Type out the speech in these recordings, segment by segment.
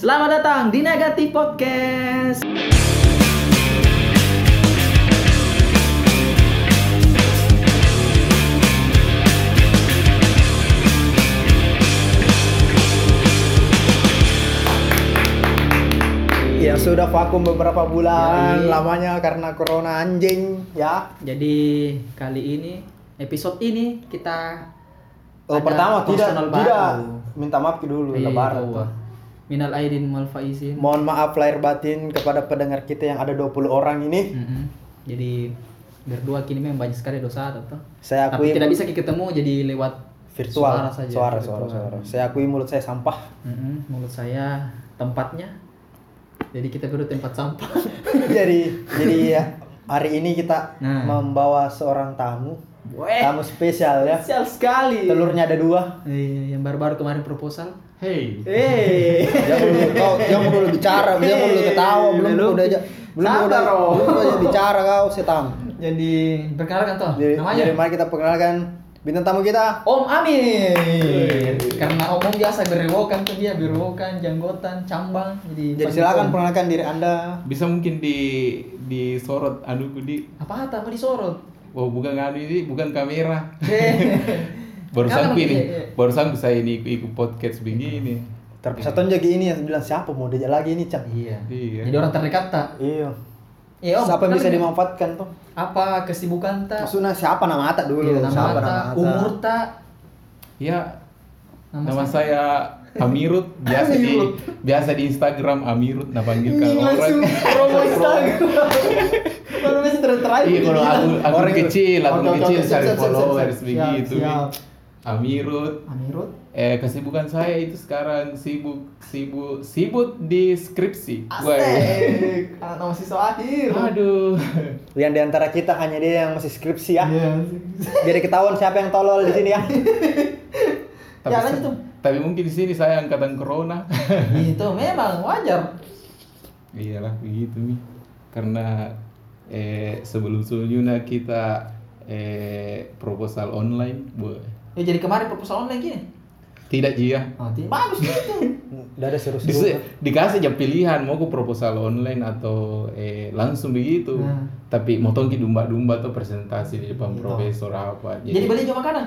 Selamat datang di Negatif Podcast. yang Ya, sudah vakum beberapa bulan Yoi. lamanya karena corona anjing ya Jadi kali ini episode ini kita oh, ada pertama tidak personal tidak baru. minta maaf dulu Iya, lebaran iya. Minal aidin wal faizin. mohon maaf lahir batin kepada pendengar kita yang ada 20 orang ini Mm-mm. Jadi berdua kini memang banyak sekali dosa atau saya tapi akui tidak bisa ketemu jadi lewat virtual suara saja suara suara, virtual. suara. saya akui mulut saya sampah Mm-mm. menurut saya tempatnya jadi kita perlu tempat sampah jadi jadi ya, hari ini kita Nah. Eh. membawa seorang tamu Weh, tamu spesial ya spesial sekali telurnya ada dua Iya, yang baru-baru kemarin proposal Hey, eh jangan dulu kau jangan dulu bicara jangan dulu ketawa belum Belum. udah aja belum Sabar, udah Ro. belum aja bicara kau setam jadi perkenalkan toh Jadi, namanya jadi mari kita perkenalkan bintang tamu kita. Om Amin. Wih. Karena Om Om biasa berewokan tuh dia berewokan, janggotan, cambang. Jadi, Jadi panggil silakan Om. perkenalkan diri Anda. bisa mungkin di disorot aduh di Apa apa disorot? oh bukan anu ini bukan kamera. Heh. Baru Kamera, sampai ini, iya, iya. baru sampai saya ini ikut Iya. podcast begini. Satu jadi ini yang bilang siapa mau diajak lagi ini, Cang? iya. Iya. Jadi orang terdekat tak? Iya. Iya, Om, siapa yang bisa kenapa? dimanfaatkan tuh? Apa kesibukan tak? Maksudnya siapa nama Ata dulu? Iya, nama siapa tak? Umur tak? Ya, Nama nama, saya Amirut biasa di biasa di Instagram Amirut nah Ini panggilkan orang. Iya, langsung promo Instagram. Baru masih terakhir. Iya kalau aku aku Orang itu. kecil, aku Oke, oke, kecil siap, cari siap, siap, followers siap, begitu. siap. Amirut Amirut. Eh kesibukan saya itu sekarang sibuk sibuk sibuk di skripsi. Wah. iya. Asik. Anak nama siswa akhir. Aduh. Yang diantara kita hanya dia yang masih skripsi ya. Iya. Jadi ketahuan siapa yang tolol di sini ya. Tapi, Ya, lanjut, Om. tapi mungkin di sini saya angkatan corona. Itu Gitu, memang wajar. Iyalah begitu Mi. Karena eh sebelum sebelumnya kita eh proposal online, Wah. Ya jadi kemarin proposal online gini. Tidak ya. Jia. Oh, ti- bagus gitu. Udah ada Dis- seru-seru. dikasih aja pilihan mau ku proposal online atau eh, langsung begitu. Nah. Tapi mau tongki domba-domba tuh presentasi di depan profesor apa. jadi beli juga makanan.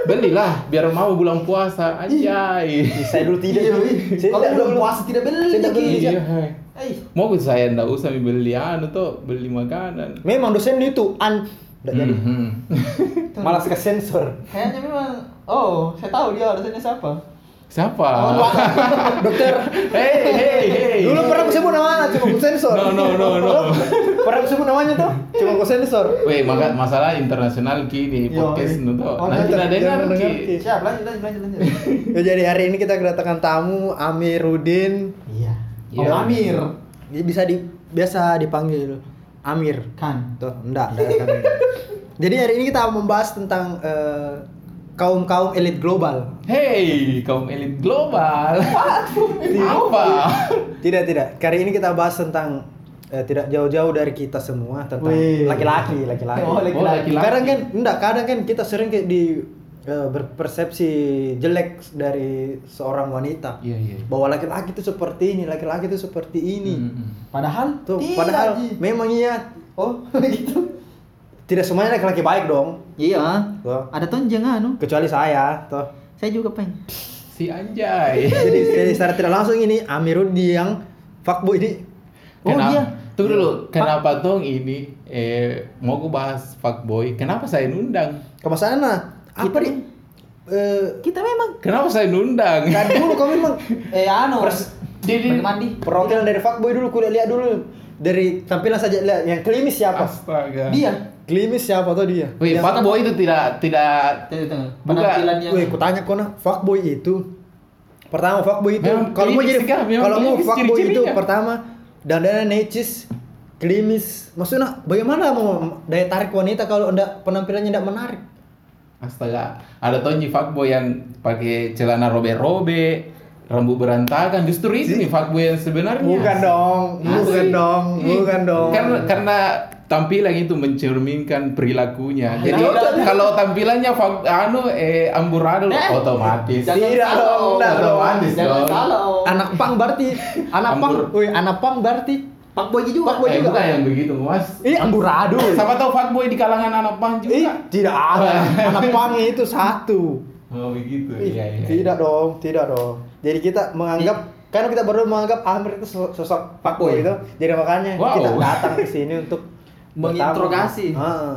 belilah biar mau bulan puasa anjay. Saya dulu tidak. Iya, iya. Saya Kalau tidak belum dulu. puasa tidak beli. gitu. Tidak beli. Ki. Iya. hai. Eh, Mau ku saya ndak usah beli anu tuh, beli makanan. Memang dosen itu an Nggak Hmm. jadi. Mhm. Malas ke sensor. kayaknya memang oh, saya tahu dia dosennya siapa. Oh, Siapa? Dokter. Hei, hei, hei. Oh, Dulu pernah aku sebut namanya, cuma aku sensor. No, no, no, no. pernah aku sebut namanya tuh, cuma aku sensor. Weh, maka masalah internasional kini Yo, podcast eh. nu tau. Oh, tetap Nanti tidak dengar jangan dengar, ki. Ki. Siap, lanjut lanjut lanjut lanjut. Ya, jadi hari ini kita kedatangan tamu Amiruddin. Iya. Iya. Om Amir Dia Ya, bisa di biasa dipanggil Amir. kan. Tuh, enggak, enggak kan. Jadi hari ini kita membahas tentang eh, kaum-kaum elit global. Hei, kaum elit global. Apa? Tidak, tidak. Kali ini kita bahas tentang eh, tidak jauh-jauh dari kita semua tentang Wih. laki-laki, laki-laki. Oh, laki-laki. Kadang kan enggak, kadang kan kita sering kayak di eh, berpersepsi jelek dari seorang wanita. Iya, Hmm, iya. Bahwa laki-laki itu seperti ini, laki-laki itu seperti ini. Mm-mm. Padahal Tuh, tidak, padahal Ki. memang iya oh gitu. tidak semuanya laki-laki baik dong. Iya. Tuh. Ada tonjeng anu. Kecuali saya, tuh. Saya juga peng. Si anjay. Jadi, jadi secara tidak langsung ini Amiruddi yang fuckboy ini Oh, Kenapa- iya. Tunggu dulu, kenapa dong ini eh mau ku bahas fuckboy? Kenapa saya nundang? ke sana. Apa Kita- nih? Eh, Kita memang Kenapa saya nundang? kan dulu kau memang eh anu. Pers- jadi- Pergi mandi. Perwakilan dari fuckboy dulu, kuda lihat dulu dari tampilan saja lihat yang klimis siapa? Astaga. Dia. Klimis siapa tuh dia? Wih, Yang- fuckboy itu tidak tidak Tengok, tengok. Buka. Penampilan yang Wih, kutanya kau nah, fuckboy itu pertama fuckboy itu Memang kalau mau klimis jadi kah? Memang kalau mau klimis kan? fuckboy itu ciri-cirinya. pertama dandannya necis, klimis. Maksudnya bagaimana mau daya tarik wanita kalau ndak penampilannya ndak menarik? Astaga, ada Tonji fuckboy yang pakai celana robe-robe, rambut berantakan. Justru itu nih fuckboy yang sebenarnya. Bukan dong, bukan Iya. Asli. dong, Ih, Kan bukan dong. Karena, karena tampilan itu mencerminkan Ah, perilakunya. Jadi iya. nah, kalau tampilannya fak- anu eh amburadul Eh, otomatis. jangan Tidak salah, dong, Om. tidak otomatis Jangan dong. salah. Om. anak pang berarti anak pang Ambur. woi anak pang berarti Pak Boy juga. Pak Boy Eh, juga. bukan yang begitu mas. ini amburadul Iya. Siapa tahu fuckboy di kalangan anak pang Ih, juga. tidak ada anak pang itu satu Oh begitu. Ih, Iya iya. tidak dong tidak dong jadi kita menganggap karena kita baru menganggap Amir itu so- sosok Fuckboy. fuckboy itu jadi makanya iya. Wow. kita datang ke sini untuk Menginterogasi. pertama. Heeh.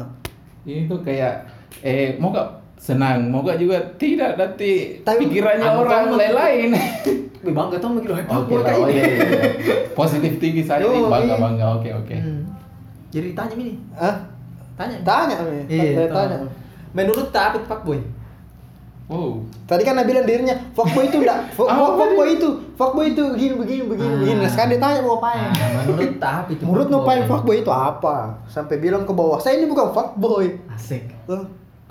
Ini tuh kayak eh mau gak senang, mau gak juga tidak nanti Tapi- pikirannya Anu orang tahu, lain-lain. Wih, bangga tau mikir "Hai, Pak Oke Boy lah, kayak gitu. oh, ini. iya, iya, iya. Positif tinggi saja, Yo, bangga iya. bangga. Oke oke. Hmm. Jadi tanya ini, Hah? tanya. tanya Amir Iya, Saya tanya tanya. Menurut tak apa Pak Boy? Wow. tadi kan dia bilang dirinya fuckboy itu enggak fuck, fuck- Apa Ah, tadi? fuckboy itu fuckboy itu begini begini begini Ah. begini nah sekarang dia tanya Nah, mau Ah, ngapain menurut tak apa itu? Menurut Pak Boy? numpain fuckboy itu apa? Sampai bilang ke bawah, saya ini bukan fuckboy. Asik. Loh,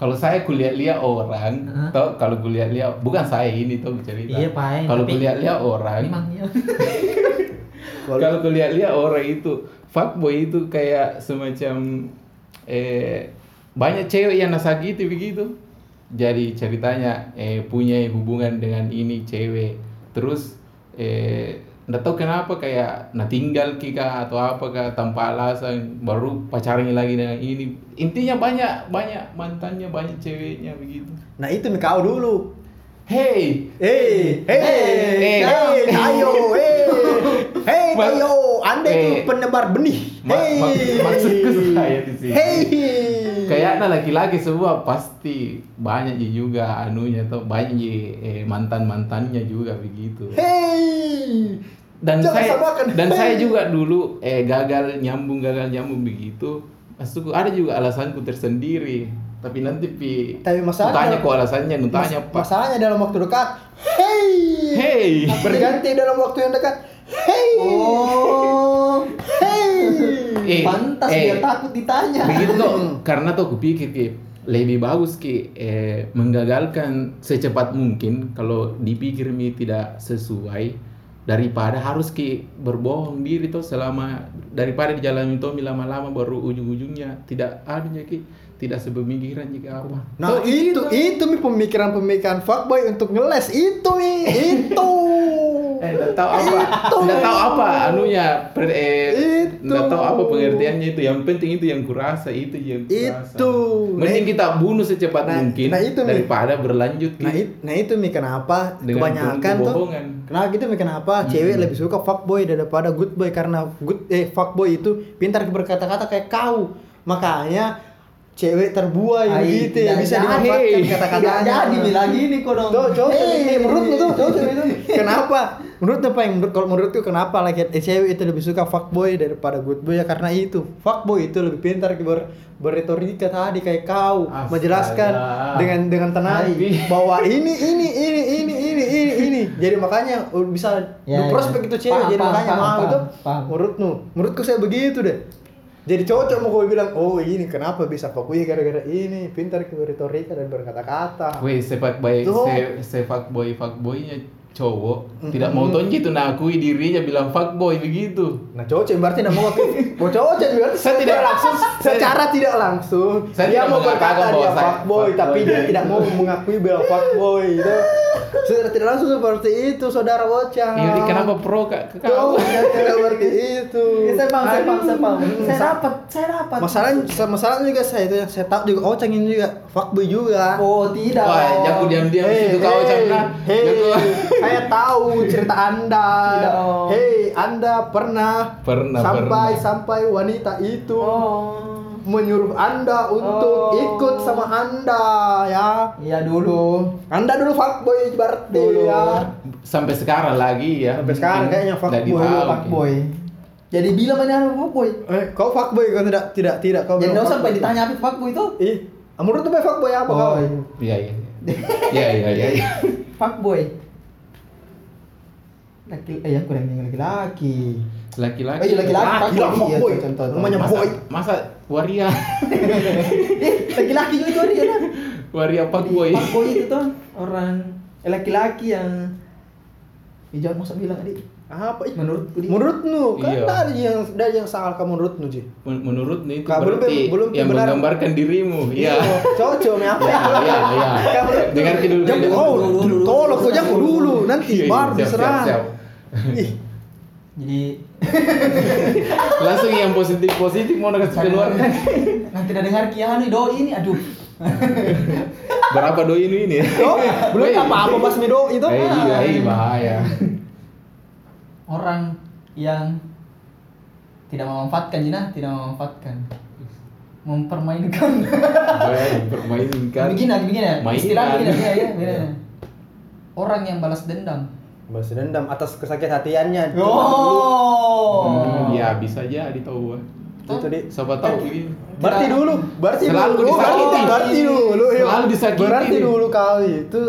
Kalau saya kulihat-lihat orang, Hah? tau kalau kulihat-lihat bukan saya ini tuh cerita. Iya, Pak. Kalau Tapi- iya. kulihat-lihat orang, Emangnya. Kalau kalau kulihat-lihat orang itu fuckboy itu kayak semacam eh banyak cewek yang nasakiti begitu. Jadi ceritanya eh punya hubungan dengan ini cewek. Terus eh nggak tahu kenapa kayak nah tinggal kika atau apakah tanpa alasan baru pacarnya lagi dengan ini intinya banyak banyak mantannya banyak ceweknya begitu nah itu nih kau dulu. Hey, Hey, hey, Hey. hey, Tayo, hey, hey, Ma- Tayo, anda Hey. itu penebar benih. Ma- ma- Hey, maksudku saya di sini. Hey, kayaknya laki-laki semua pasti banyak je juga anunya tuh banyak je, eh, mantan-mantannya juga begitu. hey, Dan Jangan saya samakan. dan Hey. saya juga dulu eh gagal nyambung gagal nyambung begitu. Maksudku ada juga alasanku tersendiri. Tapi nanti pi Tapi masalahnya- tanya kok alasannya, nu tanya Mas- Pak. Masalahnya dalam waktu dekat, hey, Hey. Iya. berganti dalam waktu yang dekat, hey, Oh. Iya. hey. Eh, Pantas eh. dia takut ditanya. begitu tuh karena tuh aku pikir Ki, lebih bagus ki eh, menggagalkan secepat mungkin kalau dipikir mi tidak sesuai daripada harus ki berbohong diri tuh selama daripada di jalan itu mi lama-lama baru ujung-ujungnya tidak ada ki tidak sepemikiran jika apa Oh, Nah itu gitu. itu mi pemikiran-pemikiran fuckboy untuk ngeles itu mi itu. eh nggak tahu apa Itu. nggak tahu apa anunya per, eh, Itu. nggak tahu apa pengertiannya itu yang penting itu yang kurasa itu yang kurasa Itu. mending kita bunuh secepat Nah, mungkin nah itu nih. daripada berlanjut gitu. Ki. nah, it- nah itu mi kenapa Dengan kebanyakan tuh kebohongan. kenapa gitu mi kenapa Hmm. cewek lebih suka fuckboy daripada good boy karena good eh fuckboy itu pintar berkata-kata kayak kau makanya cewek Ai, terbuai iya, begitu ya tidak bisa jadi. dimanfaatkan Tidak kata-katanya Iya, jadi bilang gini kok dong. Eh, iya, Tuh, cowok Hey. hey. eh, menurut lu tuh, cowok cewek itu. Kenapa? Menurut apa yang menurut kalau menurutku kenapa laki eh, cewek itu lebih suka fuckboy daripada good boy ya karena itu. Fuckboy itu lebih pintar ber berretorika tadi kayak kau Astaga. menjelaskan dengan dengan tenang Hai. bahwa ini ini ini ini ini ini ini. Jadi makanya uh, bisa Ya, lu ya. prospek itu cewek Paham, jadi paham, makanya paham, mau paham, itu paham. menurutmu. Menurutku saya begitu deh. Jadi cowok mau gue bilang, oh ini kenapa bisa fuckboy gara-gara ini, pintar berretorika dan berkata-kata. Weh, sepak boy, Tuh. se, sepak boy, fuck boynya cowok tidak mau tonji itu nakui dirinya bilang fuck boy begitu. Nah cowok cewek berarti tidak mau ngakui. Mau cowok cewek berarti Saya tidak langsung. secara tidak langsung. Saya dia tidak mau mengatakan berkata bahwa dia saya fuckboy, fuckboy. tapi dia tidak mau mengakui bahwa fuckboy. Itu secara tidak langsung seperti itu, saudara bocah. Ini Iya, kenapa pro kak? Ke Cowok kau? cewek seperti itu. Ya, Saya paham, saya paham, saya paham. Aduh. Saya dapat, saya dapat. Masalahnya, masalahnya juga saya itu yang saya tahu juga Ocang ini juga fuckboy juga. Oh, tidak. Wah, jago diam-diam Hei, situ kau hei, cakna. hei, Jago. saya tahu cerita Anda. Tidak, oh. Om. Hei, Anda pernah Pernah, sampai pernah. sampai wanita itu Oh. menyuruh Anda untuk Oh. ikut sama Anda ya. Iya dulu. Iya. Anda dulu fuckboy berarti Dulu. ya. Sampai sekarang lagi ya. Sampai sekarang Mungkin kayaknya fuckboy, lagi Dulu tahu, Pak mungkin. Boy. Jadi bila mana anak Pak Boy? Eh, kau fuckboy kau tidak tidak tidak kau Jadi belum nggak usah sampai fuckboy. ditanya apa itu Pak Boy itu. Ih, menurut tuh fuckboy apa kau? Boy. Iya iya. Iya iya iya. iya. Pak Boy. Laki, eh yang kurang yang laki-laki. Laki-laki. Oh iya laki-laki. Ah, Pak gila, Boy. Iya, fuckboy. contoh, contoh. Namanya Masa, boy. masa waria, Eh, laki-laki juga itu ada ya. kan? waria fuck boy. Pak Boy itu tuh orang eh, laki-laki yang Eh, jangan masa bilang tadi. Apa? Ih, menurutku dia. Menurut nu kan Iya. ada yang ada yang salah kamu menurut nu Ji. Men- Menurut nih itu Kak, belum- berarti belum yang benar. menggambarkan dirimu. Iya. Cocok me apa? Iya, iya, iya. Kamu Dengar dulu. jangan dulu. kau dulu, dulu. tolong kau jangan dulu Iya, nanti iya, baru siap, siap, siap. diserang. Ih, Jadi Langsung yang positif-positif mau nak keluarkan. nanti udah dengar Kianu doi ini aduh. Berapa doi ini ini? Oh, belum Weh. apa-apa pas medo itu. Eh, iya, Ah. iya, bahaya. Orang yang tidak memanfaatkan jinah, tidak memanfaatkan. Mempermainkan. Kan. Bahaya dipermainkan. Begini, begini ya. Mainan. Istilahnya begini ya, ya, Iya. bedanya. Orang yang balas dendam. Balas dendam atas kesakit hatiannya. Iya. Hmm, Oh. Ya bisa aja ditahu. Itu di. Siapa tahu begini. Berarti dulu, berarti Selalu dulu, berarti, disakiti. berarti dulu, iya. Selalu disakiti. Berarti dulu kali itu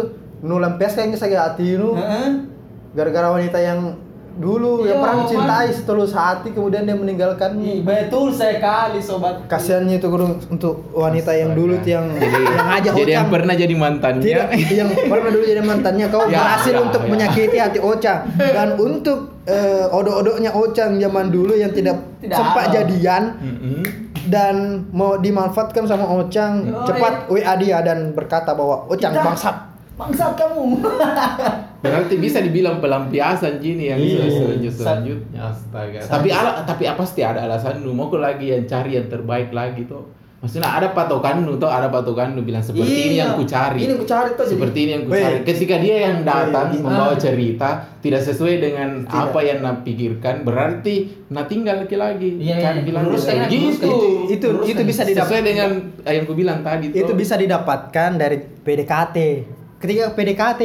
nu lempes kayaknya sakit hati nu Heeh. gara-gara wanita yang dulu Iya, yang pernah Wan. mencintai setulus hati kemudian dia Ih, meninggalkanmu. Betul sekali sobat. Kasihannya itu kurang untuk wanita yang Astaga. dulu tuh yang yang aja Jadi yang Ocang. pernah jadi mantannya. tidak yang pernah dulu jadi mantannya kau Ya, berhasil ya, untuk ya. menyakiti hati Ocang dan untuk eh, odok-odoknya Ocang zaman dulu yang tidak, Tidak sempat halal. jadian Mm-mm. dan mau dimanfaatkan sama Ocang Yoi. cepat WA dia dan berkata bahwa Ocang Oh, iya. Kita- bangsat Bangsat kamu. Berarti bisa dibilang pelampiasan gini yang Iya. selanjutnya. Sa- selanjutnya. Astaga. Tapi ala, tapi apa sih ada alasan lu mau kok lagi yang cari yang terbaik lagi tuh. Maksudnya ada patokan lu tuh, ada patokan lu bilang seperti Iya. ini yang ku cari. Ini yang ku cari tuh, jadi- Seperti ini yang ku Weh. cari. Ketika dia yang datang Weh, membawa ah. cerita tidak sesuai dengan Tidak. apa yang nak pikirkan, berarti nah tinggal lagi. Iya, iya. cari lagi. Luruskan, luruskan. Gitu. itu itu Terus itu yang bisa Sesuai didapat dengan yang ku bilang tadi gitu. itu tuh. bisa didapatkan dari PDKT ketika PDKT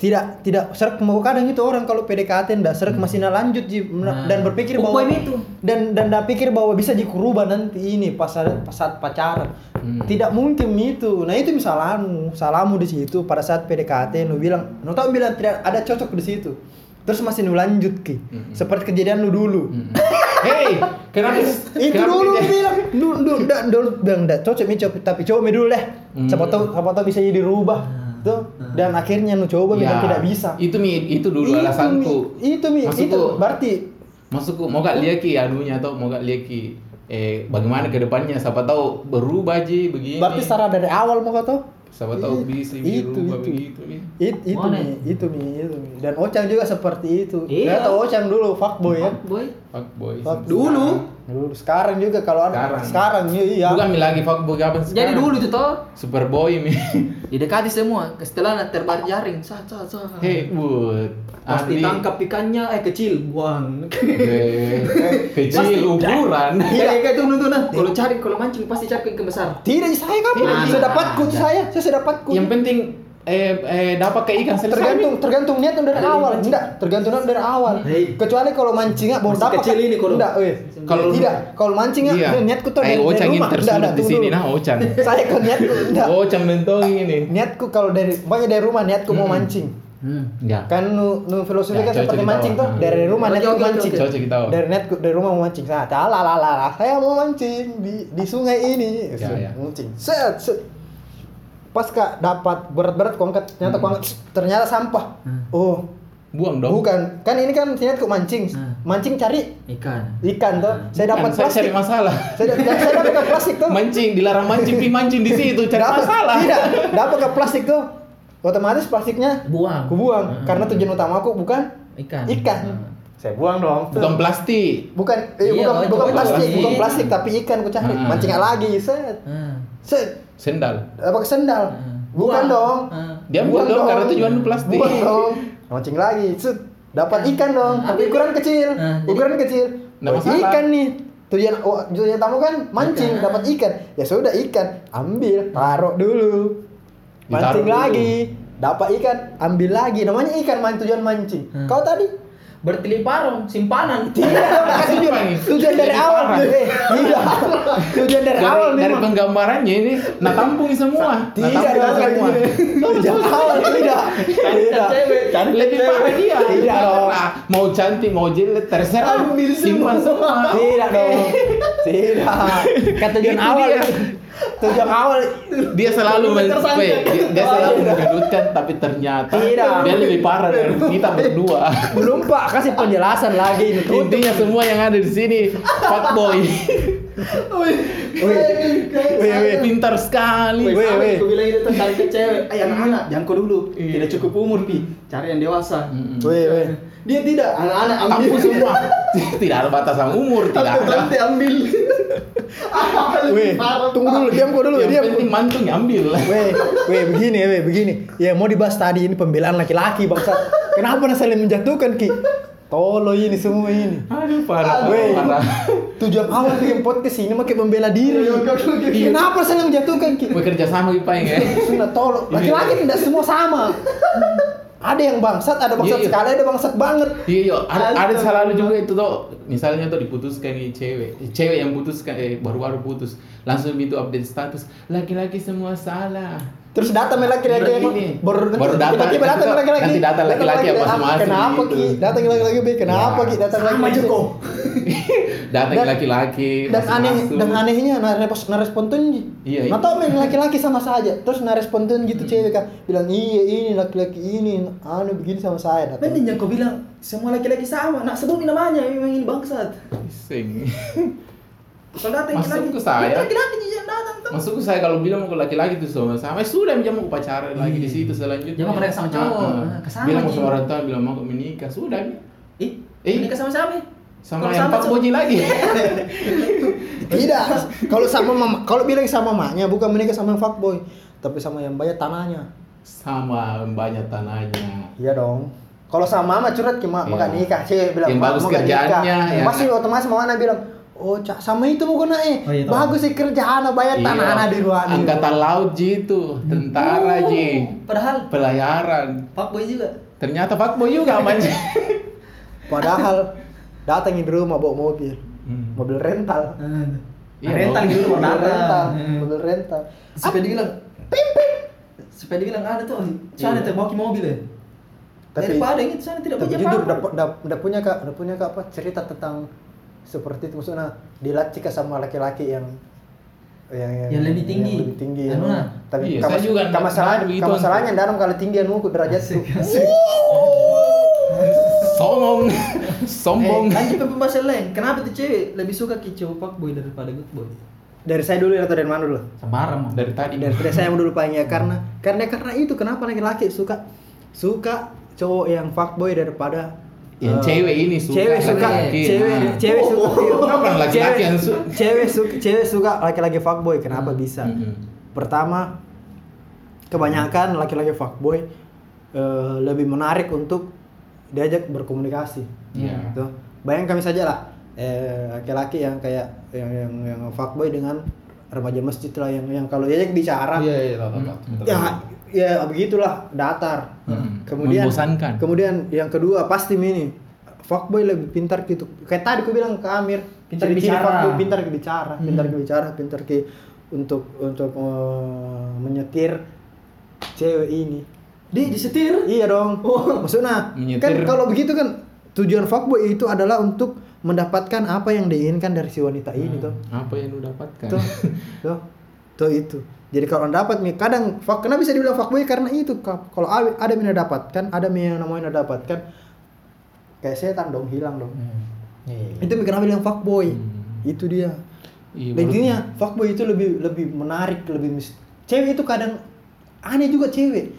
tidak tidak serak mau kadang itu orang kalau PDKT tidak serak masih na lanjut Ji. Hmm. Nah. dan berpikir bahwa Upaya itu. dan dan dah pikir bahwa bisa dikurubah nanti ini pas ada- pas saat pacaran Hmm. tidak mungkin itu nah itu salahmu salahmu di situ pada saat PDKT nu bilang nu tau bilang tidak ada cocok di situ terus masih nu lanjut ki Mm-mm. Hmm. seperti kejadian lu dulu Mm-mm. Hei, kenapa? itu kenapa dulu kita- dia bilang dulu dulu dah dulu bilang dah cocok mi cocok tapi coba mi dulu deh Hmm. Ah, siapa tahu siapa tahu bisa jadi rubah tuh dan akhirnya nu coba mi Ya, dan tidak bisa Itu mi, itu dulu Itu, Mi. alasanku. itu mi Maksudku- itu berarti Maksudku mau gak lihat ki anunya atau mau gak lihat ki eh bagaimana ke depannya siapa tahu berubah ji begini. berarti secara dari awal mau kata siapa tahu bisa itu itu berubah begitu Mi. It- itu Mana? mi itu mi itu mi dan Ocang juga seperti itu Iya. ternyata Ocang dulu fuckboy Iya. ya Oh, Boy. Fuck boy. Fuck- Dulu. dulu sekarang juga kalau ada Sekarang. sekarang iya Bukan mi lagi fuck boy apa Jadi sekarang? dulu itu toh Super boy mi. didekati semua, setelah terbar jaring, sah sah sah. Hei, wood. Pasti Andi. tangkap ikannya eh kecil, buang. Weh, Pasti. Kecil ukuran. Iya, kayak itu nonton nah. Kalau cari kalau mancing pasti cari ikan besar. tidak saya kamu Tidak. saya dapatku saya saya sudah dapatku Yang penting eh, eh dapat ke ikan selesai. tergantung tergantung niat Dari dari awal mancing. enggak tergantung niat dari awal Hei. kecuali kalau mancingnya baru Masih dapat kecil ini kalau- enggak weh Kalau- tidak kalau mancingnya Iya. eh, niatku tuh Eh, dari, dari Ocang rumah yang enggak tersulut enggak di tunggu sini dulu. nah Oh. Ocang. saya kalau niatku enggak Ocang mentongin ini. niatku kalau dari pokoknya dari rumah niatku mau mancing Hmm. Enggak. kan nu, nu filosofi Ya, kan seperti cocok mancing kita, tuh Wak. dari rumah Oke, niatku oke, oke, mancing oke. Cocok kita. Wak. dari niatku dari rumah mau mancing nah talalala saya mau mancing di di sungai ini Ya, ya. mancing set set pas kak dapat berat-berat kuangkat ternyata kuangkat ternyata sampah Hmm. oh Buang dong. Bukan, kan ini kan niat kok mancing. Hmm. Mancing cari Ikan. ikan tuh. Saya dapat Bukan, saya plastik. cari masalah. Saya, da- saya dapat ke plastik tuh. Mancing dilarang mancing, pi mancing di situ cari Dapat- Iya. masalah. Tidak, dapat ke plastik tuh. Otomatis plastiknya Buang. aku buang Hmm. karena tujuan utama aku bukan Ikan. Hmm. ikan. Saya buang dong. Bukan plastik. bukan eh, Iya, itu bukan bukan bukan plastik, plastik. bukan plastik tapi ikan ku cari. Hmm. Mancingnya lagi set. Hmm. Set Sendal. apa ke sendal. Hmm. Buang. Bukan dong. Hmm. Dia buang dong karena tujuan lu plastik. Buang dong. Mancing lagi. Set. Dapat ikan dong, Nah, tapi tapi- ukuran kecil. Nah, jadi- ukuran kecil. Nggak Oh, masalah. ikan nih. Tujuan oh, tujuan tamu kan mancing, Ikan. dapat ikan. Ya sudah ikan, ambil, taruh dulu. Mancing Ditaruh dulu. lagi, dapat ikan, ambil lagi. Namanya ikan man tujuan mancing. Hmm. Kau tadi Bertili parong, simpanan. Iya. tidak dong, kan tujuan, Simpan. tujuan dari awal. Eh, tidak. Tujuan dari Dari, awal dari memang. penggambarannya ini nah tampung semua. Nah, Tidak tampung dong, semua. tujuan awal tidak. Tidak. cewek. Lebih cewek. parah dia. Tidak dong. Nah, mau cantik, mau jelek, terserah. Simpan semua. Tidak dong. Tidak. Kata gitu tujuan Itu awal dia. itu. Sejak awal dia selalu men Tersangka. weh, dia, dia selalu menggerutkan tapi ternyata Tidak. dia lebih parah dari kita berdua belum Pak kasih penjelasan lagi ini. tuh. intinya semua yang ada di sini fuckboy Weh, weh. pintar sekali Weh, weh. Aku bilang itu tentang ke cewek. Hmm. Ay, Eh, anak-anak, jangan kau dulu. Iya. Tidak cukup umur, Pi. Cari yang dewasa. Mm-mm. Weh, weh. Dia tidak, anak-anak ambil. Aku semua tidak ada batasan umur tidak ada Tante ambil. Apa lebih Weh, parah, tunggu Pak? dulu, diam kok dulu, yang diam. penting mantung ambil Weh, weh begini, weh begini. Ya mau dibahas tadi ini pembelaan laki-laki bangsa. Kenapa anda saling menjatuhkan Ki? Tolo ini semua ini. aduh parah Weh, parah tujuan awal bikin podcast ini makin membela diri. Iya, oke, oke, oke. Kenapa saling menjatuhkan Ki? Weh, kerja sama kita ya Sudah tolol. Iya. Laki-laki tidak semua sama. Ada yang bangsat, ada bangsat Iya, iya. sekali, ada bangsat banget. Iya, iya. Ada, ada selalu juga itu tuh. Misalnya tuh diputuskan nih cewek, cewek yang putuskan eh baru-baru putus, langsung itu update status, laki-laki semua salah. Terus datang laki-laki Baru yang ini. baru Baru datang, tiba-tiba datang nanti- laki-laki. nanti datang laki-laki yang masuk-masuk Kenapa gitu. Ki? Datang laki-laki Be, kenapa Ya. Ki? Datang Sama laki-laki. aja kok. Datang Dan- laki-laki, Dan aneh masuk-masuk. dan anehnya nah, narespon narespon tuh Iya, iya. Hmm. Nah tau men laki-laki sama saja. Terus narespon tuh gitu cewek kan bilang iya ini laki-laki ini anu begini sama saya. datang. Mending yang kau bilang semua laki-laki sama. Nak sebut namanya memang ini bangsat. Sing. Kalau datang gitu. laki-laki- Masuk ke saya. Laki-laki yang datang tuh. Maksudku saya kalau bilang mau ke laki-laki itu sama sama eh, sudah dia mau pacaran lagi di Iya. situ selanjutnya. Dia mau keren sama cowok. Ah, Ah, kesama bilang mau aja. sama orang tua, bilang mau menikah, sudah Mi. Ih, Eh. ini sama siapa? sama Kalau yang Pak sama- Boji lagi. Tidak. Kalau sama mama, kalau bilang sama mamanya bukan menikah sama yang fuckboy, tapi sama yang banyak tanahnya. sama banyak tanahnya. Iya dong. Kalau sama mama curhat gimana? Maka Iya. nikah sih bilang Yang "Ma, bagus mau nggak nikah?" kerjaannya, ya. Pasti otomatis mama anak bilang, "Oh, cak sama itu mau kena eh. Oh, iya, tahu. bagus sih kerjaan banyak Iya. tanah anak di Oh. ruang." Angkatan laut Ji itu, tentara Ji. Uh, Padahal Pelayaran. Pak Boy juga. Ternyata fuckboy juga manja. Padahal datangin di rumah bawa mobil. Hmm. Mobil rental. Iya, rental dong. gitu Mobil warna rental. Mobil rental. Supaya dibilang Supaya dibilang ada tuh Sana Iya. tuh bawa ke mobil ya Tapi- Daripada yang itu sana tidak Tapi punya jujur apa-apa. dapat dapat punya kak, dapat punya kak apa cerita tentang seperti itu maksudnya dilatih sama laki-laki yang yang, Yang lebih tinggi. lebih tinggi. Anu lah. Tapi Iya, kamu saya juga nggak- masalah nggak begitu. kamu masalahnya dalam kalau tinggi anu ku derajat tuh. Songong. Eh, Sombong. lanjut ke pembahasan lain Kenapa tuh cewek lebih suka ke cowok pak boy daripada good boy Dari saya dulu ya, atau dari mana dulu? Semarang Dari tadi. Dari, dari saya dulu Hmm. palingnya karena karena karena itu kenapa laki-laki suka suka cowok yang fuckboy daripada Yang eh, cewek ini suka cewek suka laki-laki. cewek Nah. cewek Iya. suka Kenapa laki-laki yang suka? cewek suka cewek suka laki-laki fuckboy kenapa Hmm. bisa Mm-mm. pertama kebanyakan laki-laki fuckboy eh, lebih menarik untuk diajak berkomunikasi Iya. Tuh. bayangkan kami saja lah eh, laki-laki yang kayak yang yang yang fuckboy dengan remaja masjid lah yang yang kalau diajak bicara Iya iya ya ya begitulah datar Hmm. kemudian Membosankan. kemudian yang kedua pasti ini fuckboy lebih pintar gitu kayak tadi aku bilang ke Amir Pintar ciri-ciri bicara. fuckboy, pintar bicara Hmm. pintar bicara pintar ke untuk untuk eh, menyetir cewek ini Dia disetir Oh. iya dong maksudnya kan Menyetir. kalau begitu kan tujuan fuckboy itu adalah untuk mendapatkan apa yang diinginkan dari si wanita ini Hmm. tuh Apa yang lu dapatkan? tuh tuh tuh itu jadi kalau anda dapat nih kadang fuck kenapa bisa dibilang fuckboy karena itu Ka- kalau a- ada yang anda dapatkan ada yang namanya anda dapatkan kayak setan dong hilang dong Iya. itu kenapa bilang fuckboy Hmm. itu dia Iya, Dan Nah, menurut- intinya fuckboy itu lebih lebih menarik lebih mis cewek itu kadang aneh juga cewek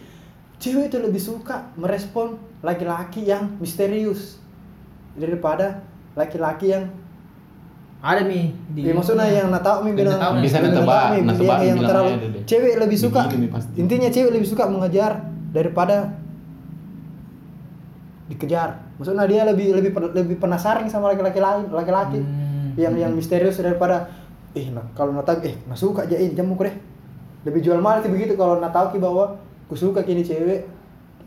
cewek itu lebih suka merespon laki-laki yang misterius daripada laki-laki yang Ada nih di Ya, maksudnya yang natau mi bilang Natau, Bisa yang netebak, natau mi, netebak yang- yang bilangnya terlalu ada deh. cewek lebih suka Begitu nih pasti. intinya cewek lebih suka mengejar daripada dikejar maksudnya dia lebih lebih pen- lebih penasaran sama laki-laki lain laki-laki Hmm. yang yang misterius daripada eh nah, kalau natau eh nah suka aja ini jamu deh lebih jual mahal sih begitu kalau natau ki bahwa ku suka kini cewek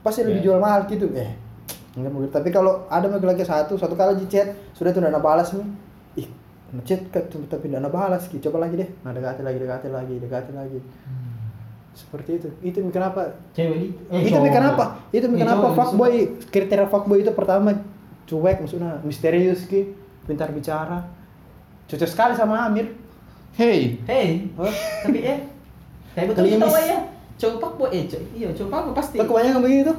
pasti lebih Ya. jual mahal gitu eh enggak mungkin tapi kalau ada laki-laki satu satu kali di chat sudah tuh nana balas nih ih ngechat kan tuh, tapi nana balas ki coba lagi deh nah dekati lagi dekati lagi dekati lagi seperti itu itu kenapa Hmm. Cewek di eh, itu cowok. kenapa itu Eh, kenapa cowok lebih fuckboy kriteria fuckboy itu pertama cuek maksudnya misterius ki pintar bicara cocok sekali sama Amir Hey, Hei, tapi eh, tapi betul Klimis. kita ya. Cowok pak eh, cowok iya cowok pak pasti. Tuh kebanyakan begitu.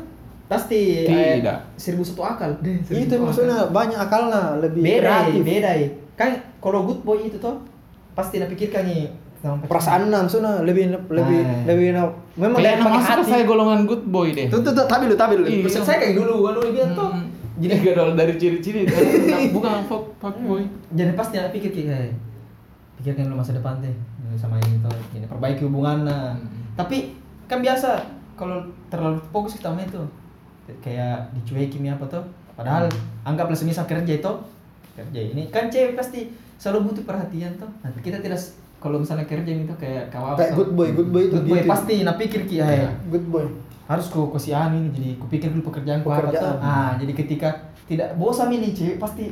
Pasti. Tidak. Seribu satu akal. Deh, seribu Itu satu akal. Oh, maksudnya kan. banyak akalnya, lebih Beda, eh, kreatif. beda. eh. Kan kalau good boy itu toh pasti nak pikirkan nih. Perasaan nah, maksudnya lebih lebih Eh. Ah. lebih nah, memang dari kayaknya pakai masuk ke hati. saya golongan good boy deh. Tuh tuh tuh tapi lu tapi lu. Iya. Persen saya kayak dulu, kan dulu bilang toh. Hmm. Jadi gak ada dari ciri-ciri, bukan fuck fuck boy. Jadi pasti nak pikir kayak "Eh, pikirkan dulu masa depan teh dulu sama ini toh. Jadi perbaiki hubungan nah. Hmm. Tapi kan biasa kalau terlalu fokus kita sama itu kayak dicuekin ya apa tuh. Padahal Hmm. anggaplah semisal kerja itu kerja ini kan cewek pasti selalu butuh perhatian tuh. Nah, kita tidak s- kalau misalnya kerja gitu kayak kawal Kayak good boy, good boy itu good boy gitu. pasti nah pikir ki ay. Iya. Good boy. harus ku kasihan ini jadi kupikir dulu pekerjaan ku apa Pekerjaan. tuh ah jadi ketika tidak bosan ini cewek pasti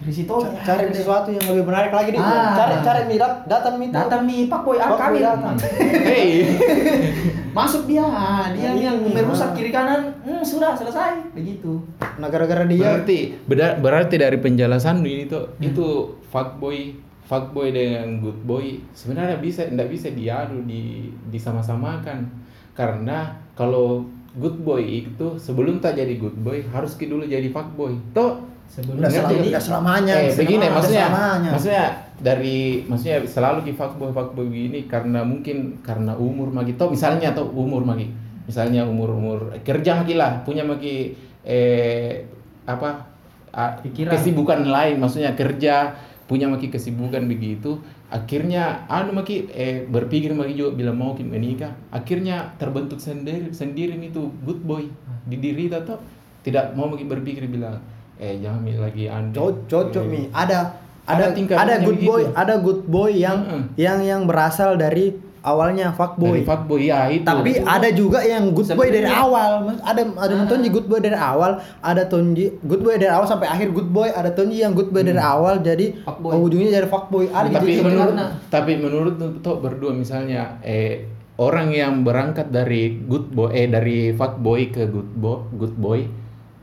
Oh, risito iya. Ca- Cari sesuatu yang lebih menarik lagi deh. Ah. Cari cari mirap, datang mirap. datang nih pak boy ah Pak kami Boy datang. Hey, masuk dia ah, dia Iya, yang iya. merusak kiri kanan hmm, sudah selesai begitu Nah gara-gara Iya. dia berarti beda- berarti dari penjelasan ini tuh itu fuck boy fuck boy dengan good boy sebenarnya bisa tidak bisa diadu di disama-samakan karena kalau good boy itu sebelum tak jadi good boy harus ki dulu jadi fuck boy toh sebelum Nggak Ngerti, selalu, jadi- nggak selamanya. Eh, nggak begini selamanya, maksudnya, nggak selamanya. maksudnya dari maksudnya selalu di fuckboy fuckboy begini karena mungkin karena umur magi toh misalnya atau umur magi misalnya umur umur kerja magi lah punya magi eh apa ah, Pikiran. kesibukan lain maksudnya kerja punya magi kesibukan begitu akhirnya anu maki eh berpikir maki juga bila mau ki menikah akhirnya terbentuk sendiri sendiri itu good boy di diri kita toh tidak mau maki berpikir bila eh jangan Mi, lagi anda cocok cocok Iya, mi ada ada Ada tingkatannya ada good boy begitu. ada good boy yang Mm-mm. yang yang berasal dari awalnya Dari fuckboy fuckboy ya itu. tapi ada juga yang good boy dari Sebenarnya- awal Mas- ada ada Ah. tonji good boy dari awal ada tonji good boy dari awal sampai akhir good boy ada tonji yang good boy dari awal jadi Fuckboy. ujungnya jadi fuckboy ada Hmm. tapi gitu. menurut karena- tapi menurut tuh berdua misalnya eh orang yang berangkat dari good boy eh dari fuckboy ke good boy good boy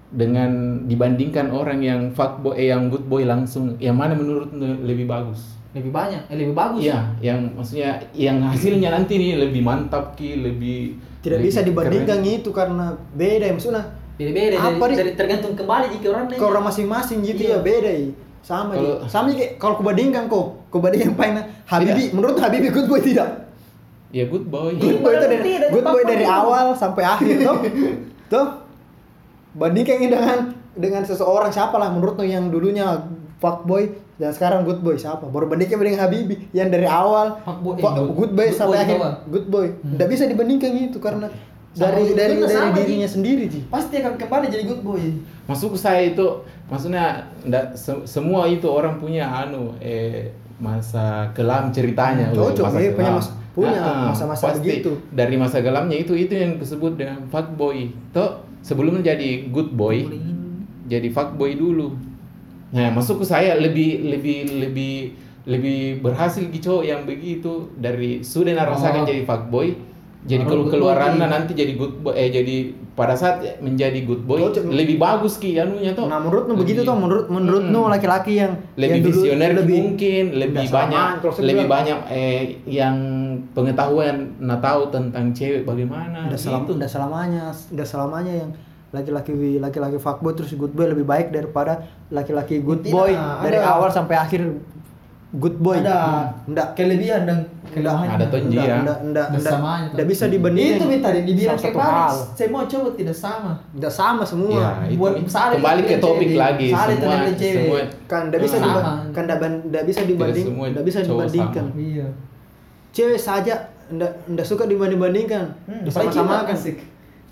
dengan dibandingkan orang yang fuckboy eh yang good boy langsung yang mana menurut lu lebih bagus? lebih banyak eh, lebih bagus Iya, yang maksudnya yang hasilnya nanti nih lebih mantap ki, lebih tidak lebih bisa dibandingkan keren. itu karena beda ya maksudnya beda beda Apa, dari, Dik? dari tergantung kembali jika orang ke orang masing-masing gitu Iya. ya beda ya sama Kalau- Ji. sama kayak kalau kubandingkan kok kubandingkan paling Habibi menurut Habibi good boy tidak Ya good boy. good boy itu dari Tidak, good boy apapun dari itu. awal sampai akhir tuh tuh bandingkan ini dengan dengan seseorang siapa lah menurut lo yang dulunya fuckboy dan sekarang good boy siapa baru bandingkan dengan Habibie yang dari awal Fuckboy, eh, fuck- no. good boy Good sampai boy akhir doang. good boy tidak bisa dibandingkan itu karena Hmm. Sama dari juga dari itu dari sama, Ji. dirinya sendiri ji pasti akan kembali jadi good boy Masuk saya itu maksudnya ndak se- semua itu orang punya anu eh masa kelam ceritanya. Cocok, Udah, iya, punya kelam. mas- punya Ah, ah, masa-masa pasti. begitu. Dari masa kelamnya itu itu yang disebut dengan fuckboy. Toh sebelumnya jadi good boy, jadi fuckboy dulu. Nah, masuk ke saya lebih lebih lebih lebih berhasil gitu yang begitu dari sudah nak rasakan Oh. jadi fuckboy Baru jadi kalau good boy. keluarannya nanti jadi good boy eh jadi pada saat menjadi good boy Cocok. lebih bagus ki anunya toh nah menurut lo Lebih- begitu tuh menurut menurut lo Hmm. Mm-mm. laki-laki yang lebih yang dulu visioner lebih mungkin lebih Nggak banyak samaan, kalau saya lebih bilang. banyak eh yang pengetahuan nah tahu tentang cewek Nah, bagaimana gitu. Udah gitu. selam, udah selamanya, udah selamanya yang laki-laki laki-laki fuckboy terus good boy lebih baik daripada laki-laki good Tidak, boy ada. dari awal sampai akhir good boy. Hmm, ada Enggak. kelebihan dan kelemahannya Ada tonji ya. Enggak, enggak, Bersamanya, enggak bisa dibandingin. itu minta dibilang Salah kayak satu hal. Paris semua cowok tidak sama Enggak sama semua. Ya, itu. Buat misalnya kembali ke itu topik cewek, lagi misalnya itu semua dari cewek. semua Kan enggak bisa Sama. diba- kan enggak ban- enggak bisa dibanding, semua enggak bisa cowok dibandingkan. iya Cewek saja enggak enggak suka dibanding-bandingkan. Hmm, sama apalagi kan. asik.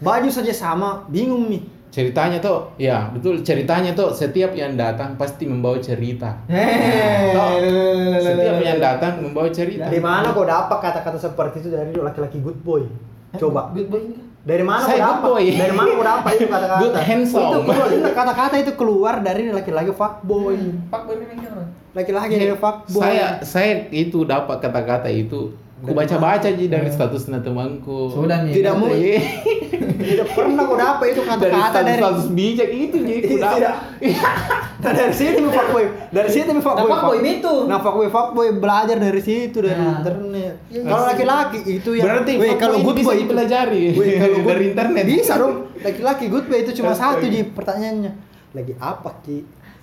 Baju saja sama, bingung nih. ceritanya toh ya betul ceritanya toh setiap yang datang pasti membawa cerita Nah, Hei, Toh, lelelelelele. setiap yang datang membawa cerita Dari mana kau dapat kata-kata seperti itu dari laki-laki good boy? Coba. good boy enggak? Dari mana Saya kau Eh, good dapat? boy. Dari mana kau dapat itu kata-kata? Good handsome. Itu keluar- itu kata-kata itu keluar dari laki-laki fuckboy. Hmm. pak boy memang keren Laki-laki yang fuckboy. saya saya itu dapat kata-kata itu Ku baca-baca aja dari status nah temanku. Sudah nih. Tidak mau- Iya. tidak pernah kau dapat itu Dari kata-kata dari status-status bijak itu jadi ku Tidak. dapat. Iya. Nah, dari sini mi fuckboy dari sini mi fuckboy Nah, fuckboy fuck- itu. nah fuckboy fuckboy belajar dari situ dari Nah. internet Iya. kalau laki-laki itu yang Berarti Weh, fuckboy kalau ini good bisa boy itu dipelajari Weh, kalau good- Iya, dari internet. bisa dong laki-laki good boy itu cuma Astaga. satu ji pertanyaannya lagi apa ki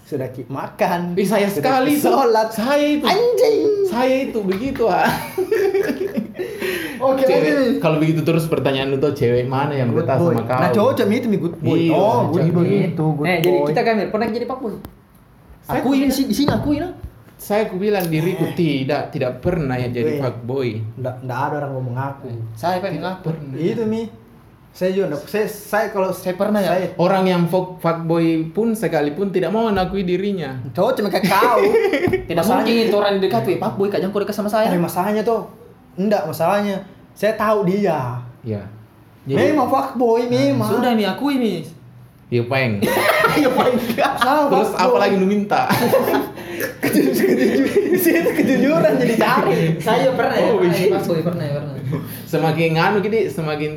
sudah ki makan Ih, saya Sudah sekali Ki itu. sholat Saya itu. anjing Saya itu begitu, ah. oke Cewek- lanjut, Mi. Kalau begitu terus pertanyaan lu tuh cewek mana yang Good betah boy. sama kau? nah cowok cuma itu mi good boy Iya, oh cowok good boy cewek. itu good Eh, jadi boy. kita Kamil pernah jadi fuckboy? aku ini sih di sini aku ini Saya ku bilang diriku Eh. tidak tidak pernah ya Weh. jadi fuckboy. nggak nggak ada orang ngomong aku Saya pengen lapor. itu mi saya juga nggak- saya saya kalau Saya pernah ya? saya- Orang yang fuck- fuckboy pun sekalipun tidak mau mengakui dirinya. cowok cuma kayak kau Tidak mungkin itu orang di dekat, weh, fuckboy kajang kau dekat sama ada saya. masalahnya tuh enggak masalahnya saya tahu dia Ya. memang fuckboy memang Sudah nih aku ini. Ya peng. ya paling enggak salah Terus apa lagi lu minta? itu kejujuran jadi cari Saya pernah ya, Oh, pernah iya. ya, fuckboy pernah ya, pernah. semakin nganu gini semakin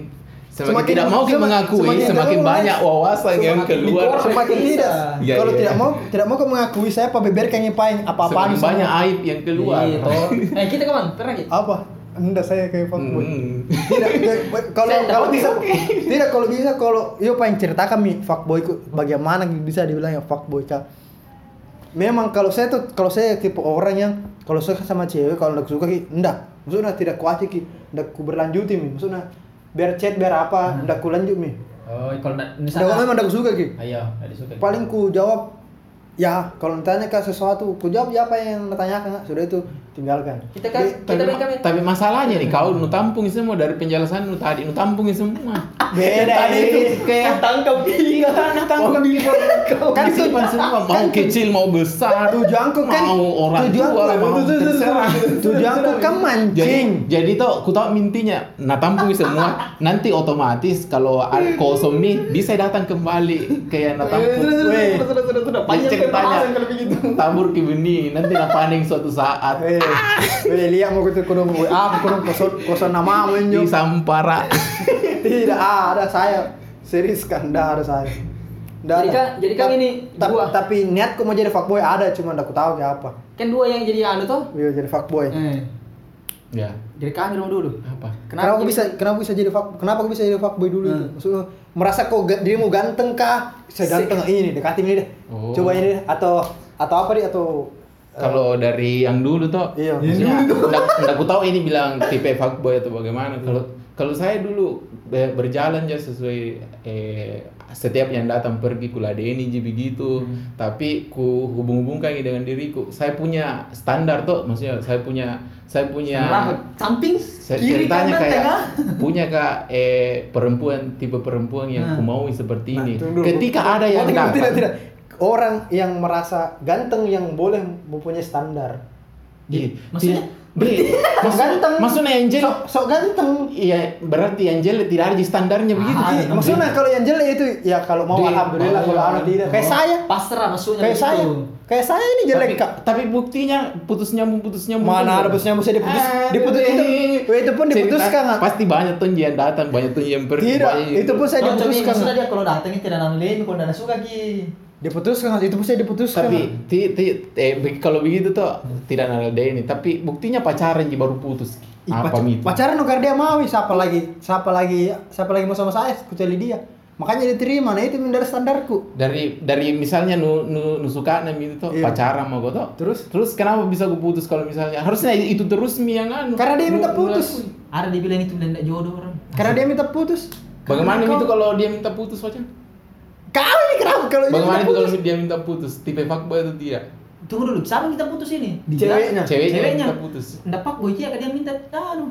semakin, Semakin- tidak mau kita semakin- mengakui semakin semakin, jelas. banyak wawasan yang Semakin keluar dikorek. semakin Bisa. tidak Iya, kalau iya. tidak mau tidak mau kau mengakui saya apa beber kayak ngipain apa apaan semakin banyak aib yang keluar. Iya, toh. Eh, kita kapan? Pernah gitu? apa enggak saya kayak fuckboy Hmm. tidak tidak, kalau Saya enggak kalau oke, bisa oke. tidak kalau bisa kalau yo pengen ceritakan mi fuckboy ku- bagaimana bisa dibilang ya fuckboy kak memang kalau saya tuh kalau saya tipe orang yang kalau suka sama cewek kalau nggak suka ki enggak maksudnya tidak kuat ki enggak ku berlanjuti mi maksudnya biar chat biar Hmm. apa enggak ku lanjut mi Oh, kalau nak enggak misalnya. memang enggak ku suka ki Ayo, ada suka. paling ku jawab ya kalau ditanya ke sesuatu ku jawab ya apa yang ditanyakan sudah itu tinggalkan Kita kan kita Tapi, main kami. tapi masalahnya nih kau nu tampung semua dari penjelasan nu tadi nu tampung semua. Beda, tadi ini. itu kayak tangkap Iya, tanah Oh, tangkap iya. Kan Kan simpan semua mau kan- kecil mau besar. tujuanku kan mau orang tujuanku kan tua mau terserah. tujuanku kan mancing Jadi, jadi tuh aku tahu mintinya, nah tampung semua, nanti otomatis kalau ada kosong nih bisa datang kembali kayak nah tampung. Weh. Panjang ceritanya tabur ke benih, nanti nah paning suatu saat Eh, eh, lihat mau kita kurung WA, aku kurung kosong kosong nama di menyo. sampara. Tidak ada saya, serius kan, tidak ada saya. Tidak Jadi ada. kan- jadi kan Ta- ini ta- dua. Tapi niatku mau jadi fuckboy ada, cuma aku tahu kayak apa. Kan dua yang jadi anu toh. Iya jadi fuckboy. Eh, Ya, jadi kami dong dulu. apa? Kenapa, aku jadi- gitu? bisa kenapa aku bisa jadi fuck kenapa aku bisa jadi fuckboy dulu itu? Hmm. Maksudnya merasa kok ga- dirimu ganteng kah? Saya ganteng ini dekati ini deh. Oh. Coba ini deh atau atau apa deh atau eh, Kalau dari yang dulu tuh, Iya. maksudnya enggak aku tahu ini bilang tipe fuckboy atau bagaimana. Kalau kalau saya dulu be- berjalan aja sesuai eh, setiap yang datang pergi kuladeni ji begitu. Hmm. Tapi ku hubung-hubungkan dengan diriku. Saya punya standar tuh, maksudnya saya punya saya punya Rambut samping, Ya. saya kiri, ceritanya kanan, kayak tengah. punya kak eh, perempuan tipe perempuan yang Nah. ku mau seperti Nah, ini. tunggu dulu. Ketika ada Oh, yang tidak, datang, tidak, tidak. Orang yang merasa ganteng yang boleh mempunyai standar. Iya. Maksudnya? Iya. maksudnya Ganteng. maksudnya Angel Sok, sok ganteng. iya berarti Angel tidak ada di standarnya begitu Ah, Ji. iya. Maksudnya kalau yang jelek itu ya kalau mau Di- Gitu. alhamdulillah kalau anak tidak kayak Oh, saya, Pasrah maksudnya kayak saya, kayak saya ini jelek tapi, kak. tapi buktinya putus nyambung putus nyambung Mana ada putusnya bisa diputus, Eh, diputus itu, itu pun diputuskan kak. pasti banyak tuh yang datang banyak tuh yang pergi Tidak, banyak- itu pun saya diputuskan. Maksudnya dia kalau datangnya tidak nanti kalau tidak suka ki. Diputuskan, itu pun saya diputuskan. tapi ti, ti, eh, be- kalau begitu tuh tidak ada ini tapi buktinya pacaran Ji, baru putus Ih, apa gitu? pac- itu Pacaran nuker dia mau, ih, siapa lagi, siapa lagi, siapa lagi mau sama saya, kecuali dia. Makanya diterima, nah itu dari standarku. dari dari misalnya nu nu, nu suka nam itu tuh Iya. pacaran sama gue tuh Terus? terus kenapa bisa gue putus kalau misalnya harusnya itu terus mi yang anu Karena dia minta Nu- nu- putus. Ada dibilang itu tidak jodoh orang. Karena dia minta putus. bagaimana Karena itu kau- kalau dia minta putus wajan Kau ini kenapa kalau ini bagaimana minta itu kalau putus? dia minta putus tipe fuckboy atau tidak Tunggu dulu, siapa yang minta putus ini? Ceweknya. ceweknya, yang Ceweknya. minta putus Ndak pak gue dia dia minta anu.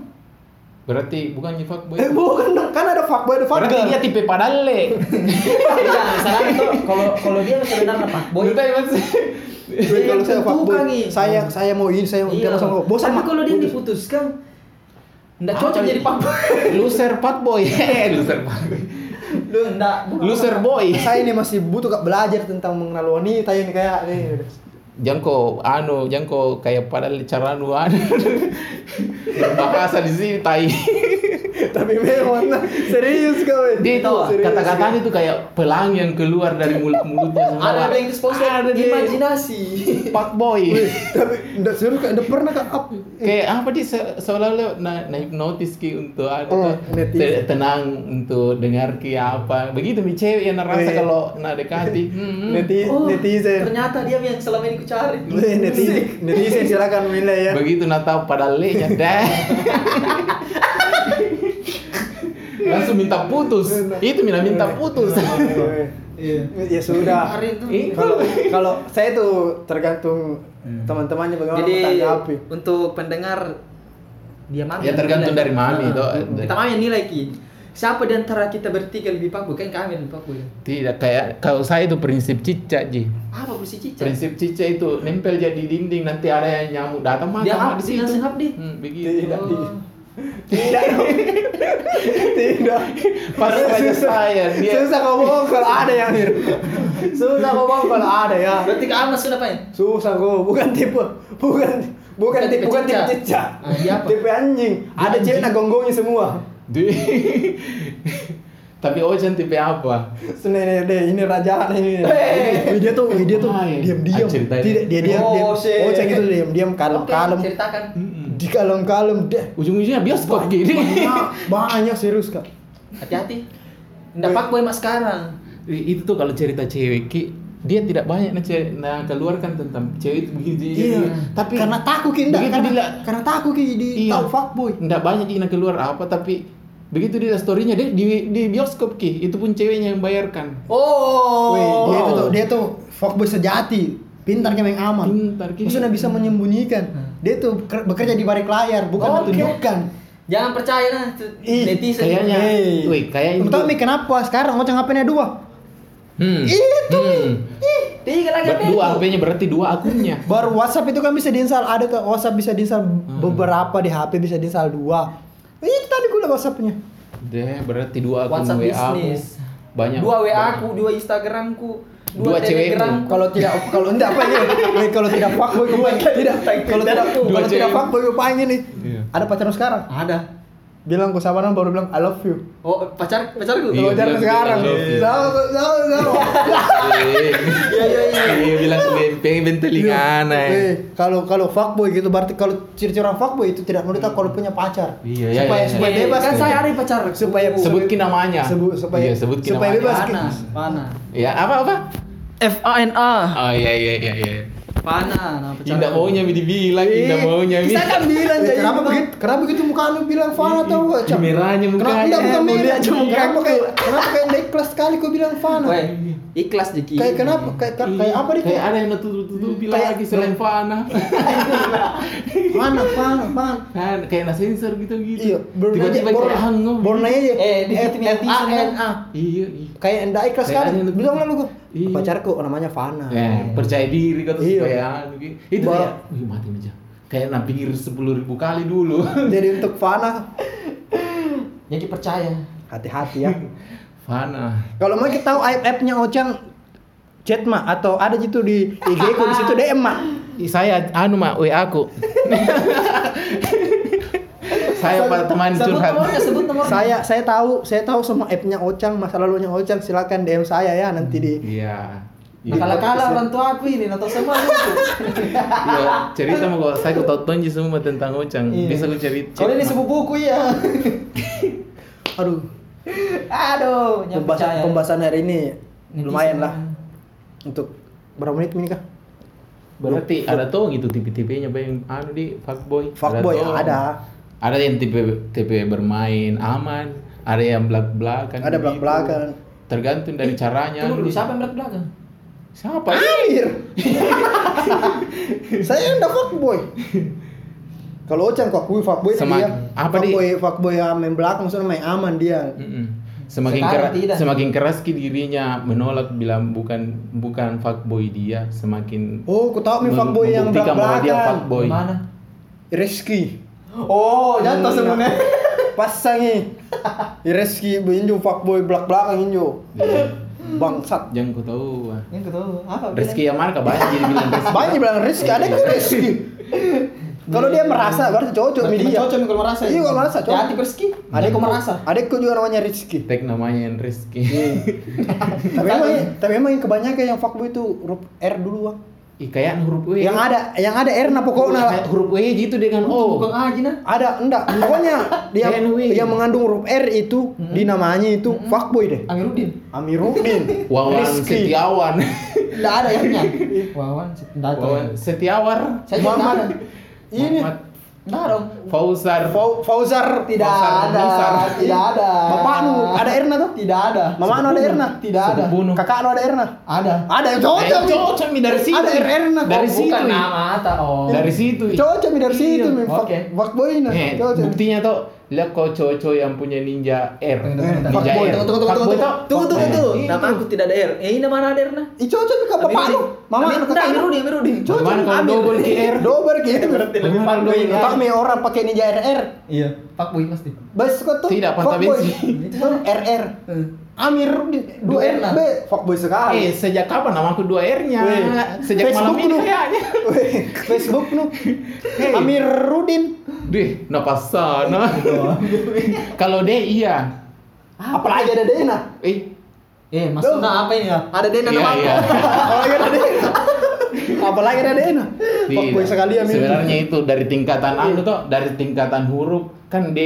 berarti bukannya fuckboy Eh bukan dong, kan ada fuckboy, ada berarti fuckgirl. dia tipe padale Tidak, misalnya itu kalau kalau dia sebenarnya pak boy. Entah, maksud- Weh, kalau saya Tentukan, fuckboy, Gi. saya saya mau ini, saya mau Iya. sama sama bosan Tapi Mak. kalau dia Putus. diputuskan ndak Ah, cocok iya. jadi pak boy. loser fuckboy Eh, loser fuckboy Lu ndak. bukan- loser boy Saya ini masih butuh kak belajar tentang mengenal wanita ini kayak ini. jangko anu jangko kayak padahal cara anu anu berbahasa di sini tai. tapi memang nah, serius kawan Dia itu Serius, kata-katanya itu kayak pelangi yang keluar dari mulut-mulutnya semua. Ada ada yang sponsor Ada deh. imajinasi. Pak boy. tapi nggak serius kayak nggak pernah kak up Kayak apa dia se- seolah-olah na, na hipnotis ki untuk ada Oh, te- hypnotis. tenang untuk dengar ki apa begitu mi cewek yang Oh, ngerasa iya. kalau na dekati hmm, hmm. Neti- netizen Oh, Ternyata dia yang selama ini ku cari. Weh, netizen netizen silakan milih ya begitu na tahu pada lenya dah langsung minta putus itu mina minta putus Iya. ya sudah Hari itu. Ih. kalau kalau saya tuh tergantung teman-temannya bagaimana ya. Jadi menanggapi untuk pendengar dia mami. Ya, yang tergantung nilai. dari mami, Ah, toh. Kita Hmm. mami yang nilai ki. Siapa di antara kita bertiga lebih paku? Kan kami yang paku. tidak kayak kalau saya itu prinsip cicak ji Apa bersih cica? prinsip cicak itu nempel jadi dinding nanti ada yang nyamuk datang Dia hap- makan di situ langsung hap dia. Hmm, begitu tidak Oh. tidak dong. tidak Pasti banyak saya, dia- susah kau bohong kalau ada yang susah kau bohong kalau ada ya Berarti kami sudah apa ya? susah kau bukan tipe bukan bukan Bukan tipe tipe bukan tipe cicak. cicak Ah, iya apa? tipe anjing ada cewek nak gonggongnya semua Di... Tapi Ocean tipe apa? Sebenarnya deh ini raja ini. Ini dia tuh, ini dia tuh Hai. diam-diam. Ah, ceritain. Tidak dia diam Oh, diam. shit. Oh, cek itu diam-diam Oke, kalem-kalem. ceritakan. Di kalem-kalem deh. Ujung-ujungnya bioskop gini. Banyak, banyak serius kak. Hati-hati. Ndak paku emak sekarang. itu tuh kalau cerita cewek Ki, dia tidak banyak nah, ce- nah, keluarkan tentang cewek itu begini. Iya. Tapi Tapi karena takut kita, begitu karena, dia karena takut kita di Iya. tahu fuckboy. tidak banyak yang keluar apa tapi begitu dia storynya dia di, di bioskop ki itu pun ceweknya yang bayarkan Oh. Weh, dia itu tuh, dia tuh fuckboy sejati. Pintarnya main aman. Pintar, gini. Maksudnya bisa menyembunyikan. Dia tuh ker- bekerja di balik layar, bukan Oke. menunjukkan. Jangan percaya nah itu Ih, netizen. kayaknya. Hey. Weh, kayaknya Kamu tahu itu- Mi, kenapa sekarang ngoceng HP-nya dua? hmm. Itu, hmm. Tiga lagi Ber- dua HP-nya berarti dua akunnya Baru WhatsApp itu kan bisa diinstal, ada tuh WhatsApp bisa diinstal Hmm. beberapa di HP bisa diinstal dua. Itu tadi gue liat WhatsAppnya. deh berarti dua akun WhatsApp WA aku. bisnis. banyak Dua WA banyak. aku, dua Instagramku, Dua dua, cewekmu. Telegramku. Kalau tidak kalau enggak apa ya? Weh, kalau tidak fuckboy gue pengen. Tidak, kalau tidak Dua kalau tidak cewek. fuckboy gue pengen nih. Iya. Ada pacaran sekarang. ada. Bilang gue sabaran baru bilang I love you. Oh, pacar Oh, pacarku. Iya, Kalau pacaran bilang, sekarang. bilang, I love you. Sama sama sama. Iya iya iya. Iya bilang pengen benteling Weh, aneh. Iya. Kalau kalau fuckboy gitu berarti kalau ciri-ciri orang fuckboy itu tidak menurut aku kalau punya pacar. Iya, iya, Supaya iya, supaya iya. bebas Kan saya ada yang pacar. Oh, Supaya Sebutkin namanya. Sebut supaya Iya, sebutkin supaya namanya. bebas. Pana, Pana. Ya apa apa? F A N A. Oh iya iya iya iya. Pana, nah pacar. Tidak maunya mi dibilang, tidak maunya mi. Kita kan bilang Eh, jadi kenapa begitu? gitu. Kenapa begitu muka anu bilang Iya, Fana tau gak? Cak? Merahnya Kenapa mukanya. enggak bukan Eh, merah? lihat aja muka Kenapa aku. kayak kenapa kayak naik kelas sekali kau bilang Fana? Weh, ikhlas Jeki. Kayak kenapa? Kayak kayak Kan kayak apa deh? iya. Kayak ada yang nutup-nutupi Kayak- lagi selain Fana. Fana, Fana, Fana. Kan kayak na sensor gitu-gitu. Iya, baru nanya, Gitu. tiba-tiba baru kayak hangum. baru nanya aja. Eh, di F titik A N netizen A. Iya iya. Kayak enggak ikhlas Kayak sekali. ada yang- Bilang lalu gua. Iya. Pacarku oh, namanya Fana. Eh, percaya diri kata Iya. supaya anu, ki. itu Ba- kayak wih mati aja. Kayak na pikir 10.000 kali dulu. Jadi untuk Fana Jadi percaya. hati-hati ya. Fana. Kalau mau kita tahu aib-aibnya Ocang chat mah atau ada gitu di IG ku di situ DM mah. Ih, saya anu mak WA aku saya pada teman Sebut curhat nomornya, sebut nomornya. saya saya tahu saya tahu semua app-nya Ocang masa lalunya Ocang silakan DM saya ya nanti di iya Nah, kalau kalah orang tua aku ini atau semua itu. Iya, cerita mau gua- saya kau tonji semua tentang Ocang Iya. bisa aku cerita Kalau ini sepupuku ya. aduh Aduh, yang pembahasan, percaya. pembahasan hari ini Netizen lumayan lah emang. untuk berapa menit ini kah berarti ada tuh gitu tipe-tipenya apa yang anu di fuckboy Fuckboy, tong. ada. ada yang tipe tipe bermain aman ada yang belak belakan Ada belak-belakan. tergantung dari caranya Tunggu dulu, siapa yang berat belakang? siapa Amir saya enggak fuckboy kalau Ocang kok kui fuckboy itu Semak- dia apa Hmm. di- fuckboy fuckboy yang main belakang maksudnya main aman dia Mm-mm. Semakin Sekarang keras, tidak. semakin keras ki dirinya menolak bilang bukan bukan fuckboy dia, semakin oh ku tahu mi mem- fuckboy yang membuktikan bahwa dia belak-belakan fuckboy. Mana? Rizky Oh, jatuh Hmm. semuanya. pasangi Rizky injo fuckboy belak-belakang injo Iya. bangsat Yang ku tahu. ah. Yang ketemu apa? Rezeki yang mana kabar? Jadi bilang rezeki. banyak yang bilang Rizky ada yang Rizky Kalau dia merasa berarti Oh, Berarti cocok kan sama dia. Cocok nih kalau merasa. ya. Iya, kalau merasa cocok. cocok. Hati bersiki. Ada Adekku- kok merasa. Adekku juga namanya Rizky. Tek namanya yang Rizky. tapi emang tapi emang yang kebanyakan yang fuckboy itu huruf R dulu Bang. Ih, kayak huruf W. Yang ada yang ada R nah pokoknya lah. Kayak huruf W gitu dengan O. Bukan aja nah. Ada enggak pokoknya dia NW. yang mengandung huruf R itu di namanya itu fuckboy deh. Amiruddin. Amiruddin. Wawan Rizky. Setiawan. Enggak ada yang nya. Wawan, enggak tahu. ya. Wawan Setiawar. Saya juga enggak ada. Muhammad. Ini Muhammad Enggak dong. Fauzar. Fau- Fauzar Tidak Besar, ada. besar. Tidak ada. Bapak nu ada Erna tuh? Tidak ada. Mama nu ada Erna? Tidak ada. Sepupuno. Kakak lu ada Erna? Ada. Ada yang Eh, cocok. Mi. cocok Mi, dari situ. Ada RR nah. Dari Oh, situ. Bukan Mi. nama ata oh. Dari situ. Mi. Cocok Mi, dari situ Mi. Oke. Fuck- Fuckboy nah. Eh, Cocok. buktinya tuh lihat kok cowok yang punya ninja R. Tunggu, tunggu, tunggu. Ninja Fuckboy, R. tunggu, tunggu, Fuckboy tunggu, tuh. Tunggu tunggu Fuckboy. tunggu. Itu. Nama aku tidak ada R. Eh, ini mana ada R nah? Ih cocok Mi, ke bapak lu. Mama Amiruddin. lu kakak lu. Amiruddin, Amiruddin. Cocok Gimana Mi, kalau Amir. double R? Double gitu. Berarti lebih Gimana fuckboy double lah. Pak Mi orang pakai ninja RR. Iya, Pak Boy pasti. Bas kok tuh. Tidak, Panta fuckboy. Bensi. Itu RR. Amir dua Dua R R. B fuckboy Eh, sekali. sejak kapan nama aku 2R-nya? Weh, Sejak malam Facebook ini lu. kayaknya. Weh, Facebook lu. Hey. Amir Rudin. Dih, napas sana. Kalau D iya. Apalagi ada Dena. Eh, Eh, maksudnya apa ini ya? Ada Dena Iya, nama iya. aku. Apalagi ada Dena. Apalagi ada Dena. Fuckboy tidak. sekali Amir. Iya. Sebenarnya itu dari tingkatan Iya. anu tuh, dari tingkatan huruf kan D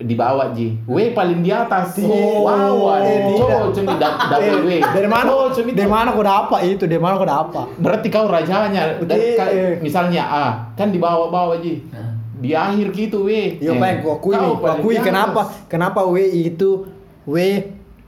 di bawah Ji. W paling di atas. Tidak. wow, ada Eh, tidak. cowok cumi da- double W. Eh, dari mana? Cowok cumi Dari mana kau dapat itu? Dari mana kau dapat? Berarti kau rajanya. Dari, Tidak. kan- misalnya A kan di bawah-bawah Ji. Di akhir gitu W. Yo, Eh, Pak, Iya, gua akui, kau nih, gua paling akui di kenapa? atas. Kenapa W itu W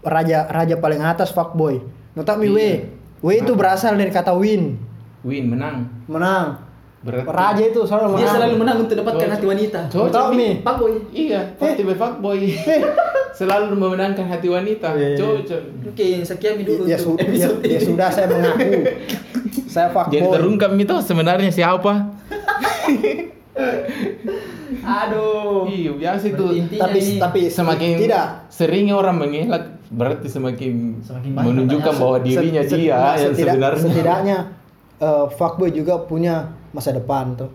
raja raja paling atas fuckboy. Notami W. Iya. W itu berasal dari kata win, Win menang. menang. Berarti Raja itu selalu menang. Dia selalu menang untuk dapatkan hati wanita. Cocok, Tau, Mi. Pak Boy. Eh. Iya, pasti be fuckboy. Selalu memenangkan hati wanita. Iya, iya. Cocok. Oke, sekian dulu Ya, untuk sudah, ya, episode ya ini. sudah saya mengaku. saya Jadi fuckboy. terungkap itu sebenarnya siapa? Aduh. Iya, biasa itu. Berarti intinya Tapi ini- tapi Semakin Oh. tidak sering orang mengelak berarti semakin, Semakin banyak kan? menunjukkan pertanyaan. bahwa dirinya Se- se- dia nah, yang setidak- sebenarnya. setidaknya eh, fuckboy juga punya masa depan tuh.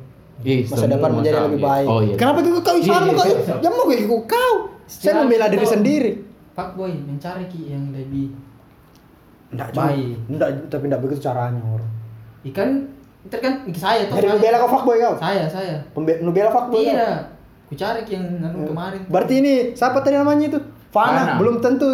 Ih, Masa semua depan menjadi sama. lebih baik. Oh iya. Kenapa kau kau Iya, sama iya, kau? iya, iya. Ya mau kau kau. Saya Secara membela diri kita- sendiri. Pak Boy mencari ki yang lebih Enggak, Baik. Enggak, tapi enggak begitu caranya orang. ikan terkan saya toh Jadi saya. membela kau fuckboy kau. saya saya Pembe- Membela fuckboy. kau? Iya. tidak ku cari ki yang anu Iya. kemarin Berarti ini siapa tadi namanya itu? Fana, Fana. belum tentu.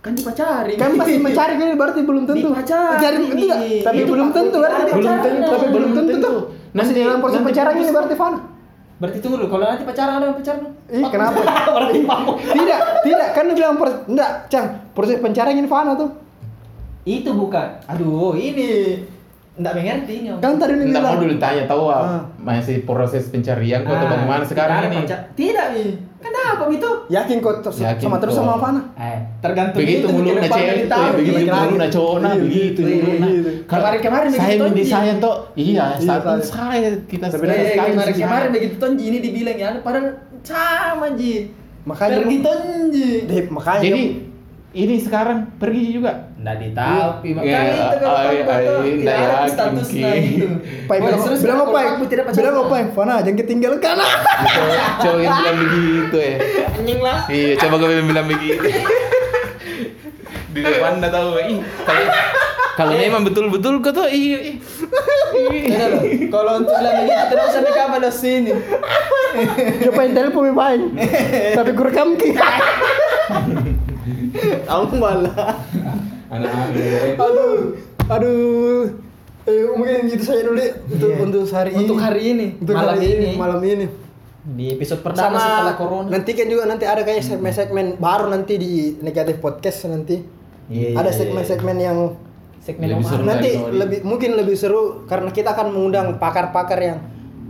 kan dipacari Kan masih mencari kan berarti belum tentu. Dipacari. Mencari tidak, tapi Itu belum Fuckboy tentu tidak berarti. ada Belum pacaran, tentu, tapi nah. belum tentu. tuh. Masih Nanti- dalam proses gitu, nanti pacaran ini putus. berarti Fana. berarti tunggu dulu kalau nanti pacaran ada pacaran Ih, Pak kenapa? Boy. berarti Pak Boy. tidak, tidak. Kan lu bilang proses, enggak, Cang. Proses pencarian ini Fana tuh. itu bukan aduh ini enggak mengerti ini Om. Kan tadi lu Enggak mau dulu bilang. tanya tahu Ah. masih proses pencarian kok atau Ah, bagaimana sekarang tidak ada ini. pacar- tidak Mi. kenapa itu Yakin kau terus- Yakin sama terus kau. sama Fana? eh tergantung begitu itu, mulu mungkin na depan cewek dari itu tahun. begitu Iya, mulu na iya, cowok nah iya, begitu iya, mulu iya, nah iya. Kemarin-kemarin saya begitu, mending Ji. saya tuh iya Iya, saat ini saya. saya kita Sebenarnya sekarang Eh, kemarin saya. kemarin begitu Tonji ini dibilang ya, padahal sama Ji. Makanya pergi lu- Tonji. Deh, makanya jadi dia- ini sekarang pergi juga Nggak ditapi, makanya Iya, itu kalau ay, Pak Boy ay, tuh nggak tidak ada yakin, statusnya Ki. itu. nah, Pai gitu. Boleh, bilang, terus bilang kalau apa? Pak Boy tidak pacaran. Bilang apa? Fana, jangan ketinggalkan. Cowok- Gitu, cowok yang bilang begitu ya Anjing lah. iya coba gue bilang begitu di depan nggak tahu ih kalau kalau memang betul-betul kok tuh iya iya. Tidak loh, Iya, kalau untuk bilang ini kita tidak usah nikah pada sini. Dia pengen telepon lebih baik. Tapi gue rekam ki. Kamu malah. anak-anak ya. Aduh, aduh. Eh, mungkin itu saja dulu deh, untuk Iya. untuk hari ini. Untuk hari ini, Untuk malam hari ini. Malam ini. Di episode pertama setelah corona. Nanti kan juga nanti ada kayak segmen-segmen baru nanti di negatif podcast nanti. Iya, ada iya, segmen-segmen yang Segmen Lebih Omar. seru. nanti dari- lebih mungkin lebih seru karena kita akan mengundang pakar-pakar yang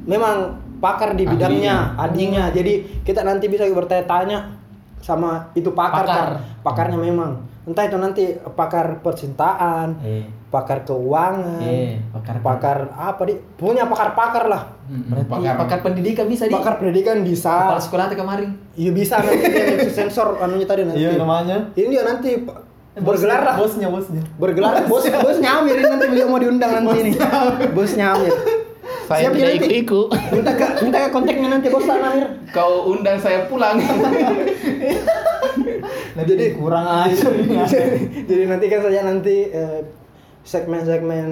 memang pakar di bidangnya, ahlinya. Jadi kita nanti bisa bertanya-tanya sama itu pakar, Pakar. Kak. pakarnya memang. Entah itu nanti pakar percintaan, Eh, pakar keuangan, eh, pakar pakar apa di punya pakar-pakar lah. Hmm, Berarti pakar, pendidikan bisa di Pakar pendidikan bisa. kepala sekolah tadi kemarin. Iya bisa nanti yang sensor anunya tadi nanti. Iya, namanya. Ini dia nanti Pak. bergelar lah. Bosnya, bosnya. Bergelar bos bos nyamir ini nanti beliau mau diundang nanti ini. Bos nyamir. saya Siap, tidak Yati. ikut-ikut. Minta ke, minta ke kontaknya nanti bos Amir. Kau undang saya pulang. Lebih Nah, Jadi- kurang aja. Ah, ya. Jadi nantikan saja nanti eh, segmen-segmen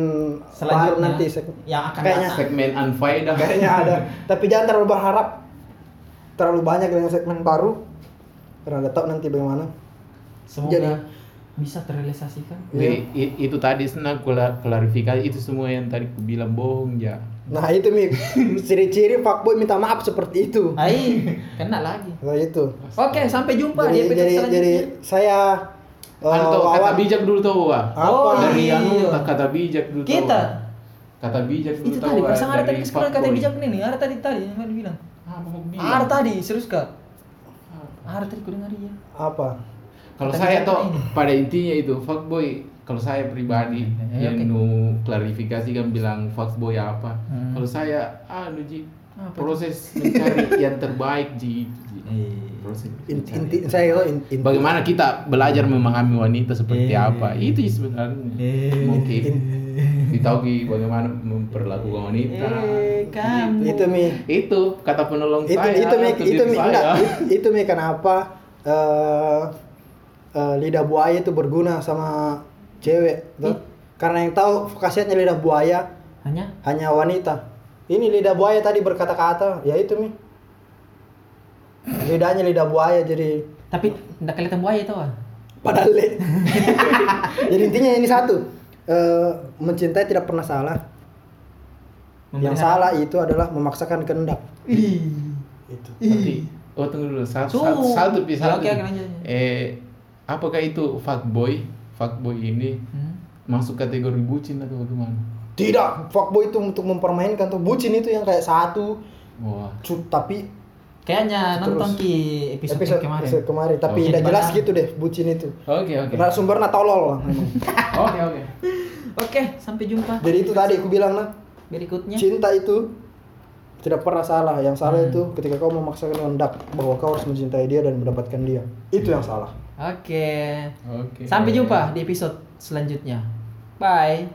Selanjutnya, baru nanti seg- Ya. yang akan kayaknya datang. Segmen unfaedah. kayaknya ada. Tapi jangan terlalu berharap terlalu banyak dengan segmen baru karena nggak tahu nanti bagaimana. Semoga Jadi- bisa terrealisasikan. Jadi, i- itu tadi senang kula- klarifikasi itu semua yang tadi ku bilang bohong ya. Nah itu mi ciri-ciri fuckboy minta maaf seperti itu. Nah. Hai, kena lagi. Nah itu. Oke, sampai jumpa di Jadi, episode jadi, selanjutnya. jadi saya eh, Anu tau kata Wawan. bijak dulu tau Wa? Apa? Oh, Dari iya. anu tak kata bijak dulu tau, Kita. Wa? Kata bijak dulu itu tau, tadi Wa, pasang ada dari tadi kesimpulan kata fuckboy. bijak nih nih ada tadi tadi yang tadi bilang Ah, mau bilang. ada tadi serius kak ada tadi ku dengar iya apa? Kalau Kata kan saya bijak toh ini. pada intinya itu fuckboy kalau saya pribadi Hmm, ya, Eh, yang oke. nu klarifikasi kan bilang fuckboy apa. Hmm. Kalau saya anu Ji Apa itu? proses mencari yang terbaik Ji. itu, Ji. Proses Iya. Inti, mencari inti Hmm. yang saya itu in- inti- bagaimana kita belajar memahami wanita seperti Iya. Eh. apa itu sebenarnya Eh. mungkin ditaugi bagaimana memperlakukan wanita Eh, kamu. itu mi itu kata penolong Iya. itu saya itu mi untuk itu diri mi saya. enggak it- itu mi kenapa eh, eh, lidah buaya itu berguna sama cewek tuh. Hmm. Ih. karena yang tahu khasiatnya lidah buaya hanya hanya wanita ini lidah buaya tadi berkata-kata ya itu mi lidahnya lidah buaya jadi tapi tidak kelihatan buaya itu ah padahal le. jadi intinya ini satu eh, mencintai tidak pernah salah yang salah itu adalah memaksakan kehendak ih itu Berarti, oh tunggu dulu satu Tuh. satu satu pi, Ya, satu. oke, oke, lanjut, lanjut. eh apakah itu fuckboy fuckboy ini Hmm. masuk kategori bucin atau bagaimana Tidak, fuckboy itu untuk mempermainkan tuh bucin itu yang kayak satu, wah cu- tapi kayaknya Terus. nonton ki episode, episode kemarin episode kemarin, tapi Oke. tidak jelas Gimana? gitu deh bucin itu. oke oke Narasumbernya tolol lah memang. oke oke oke sampai jumpa Jadi itu tadi aku bilang nah, berikutnya cinta itu tidak pernah salah. Yang salah Hmm. itu ketika kau memaksakan kehendak bahwa kau harus mencintai dia dan mendapatkan dia. Itu yang salah. oke oke sampai jumpa di episode selanjutnya bye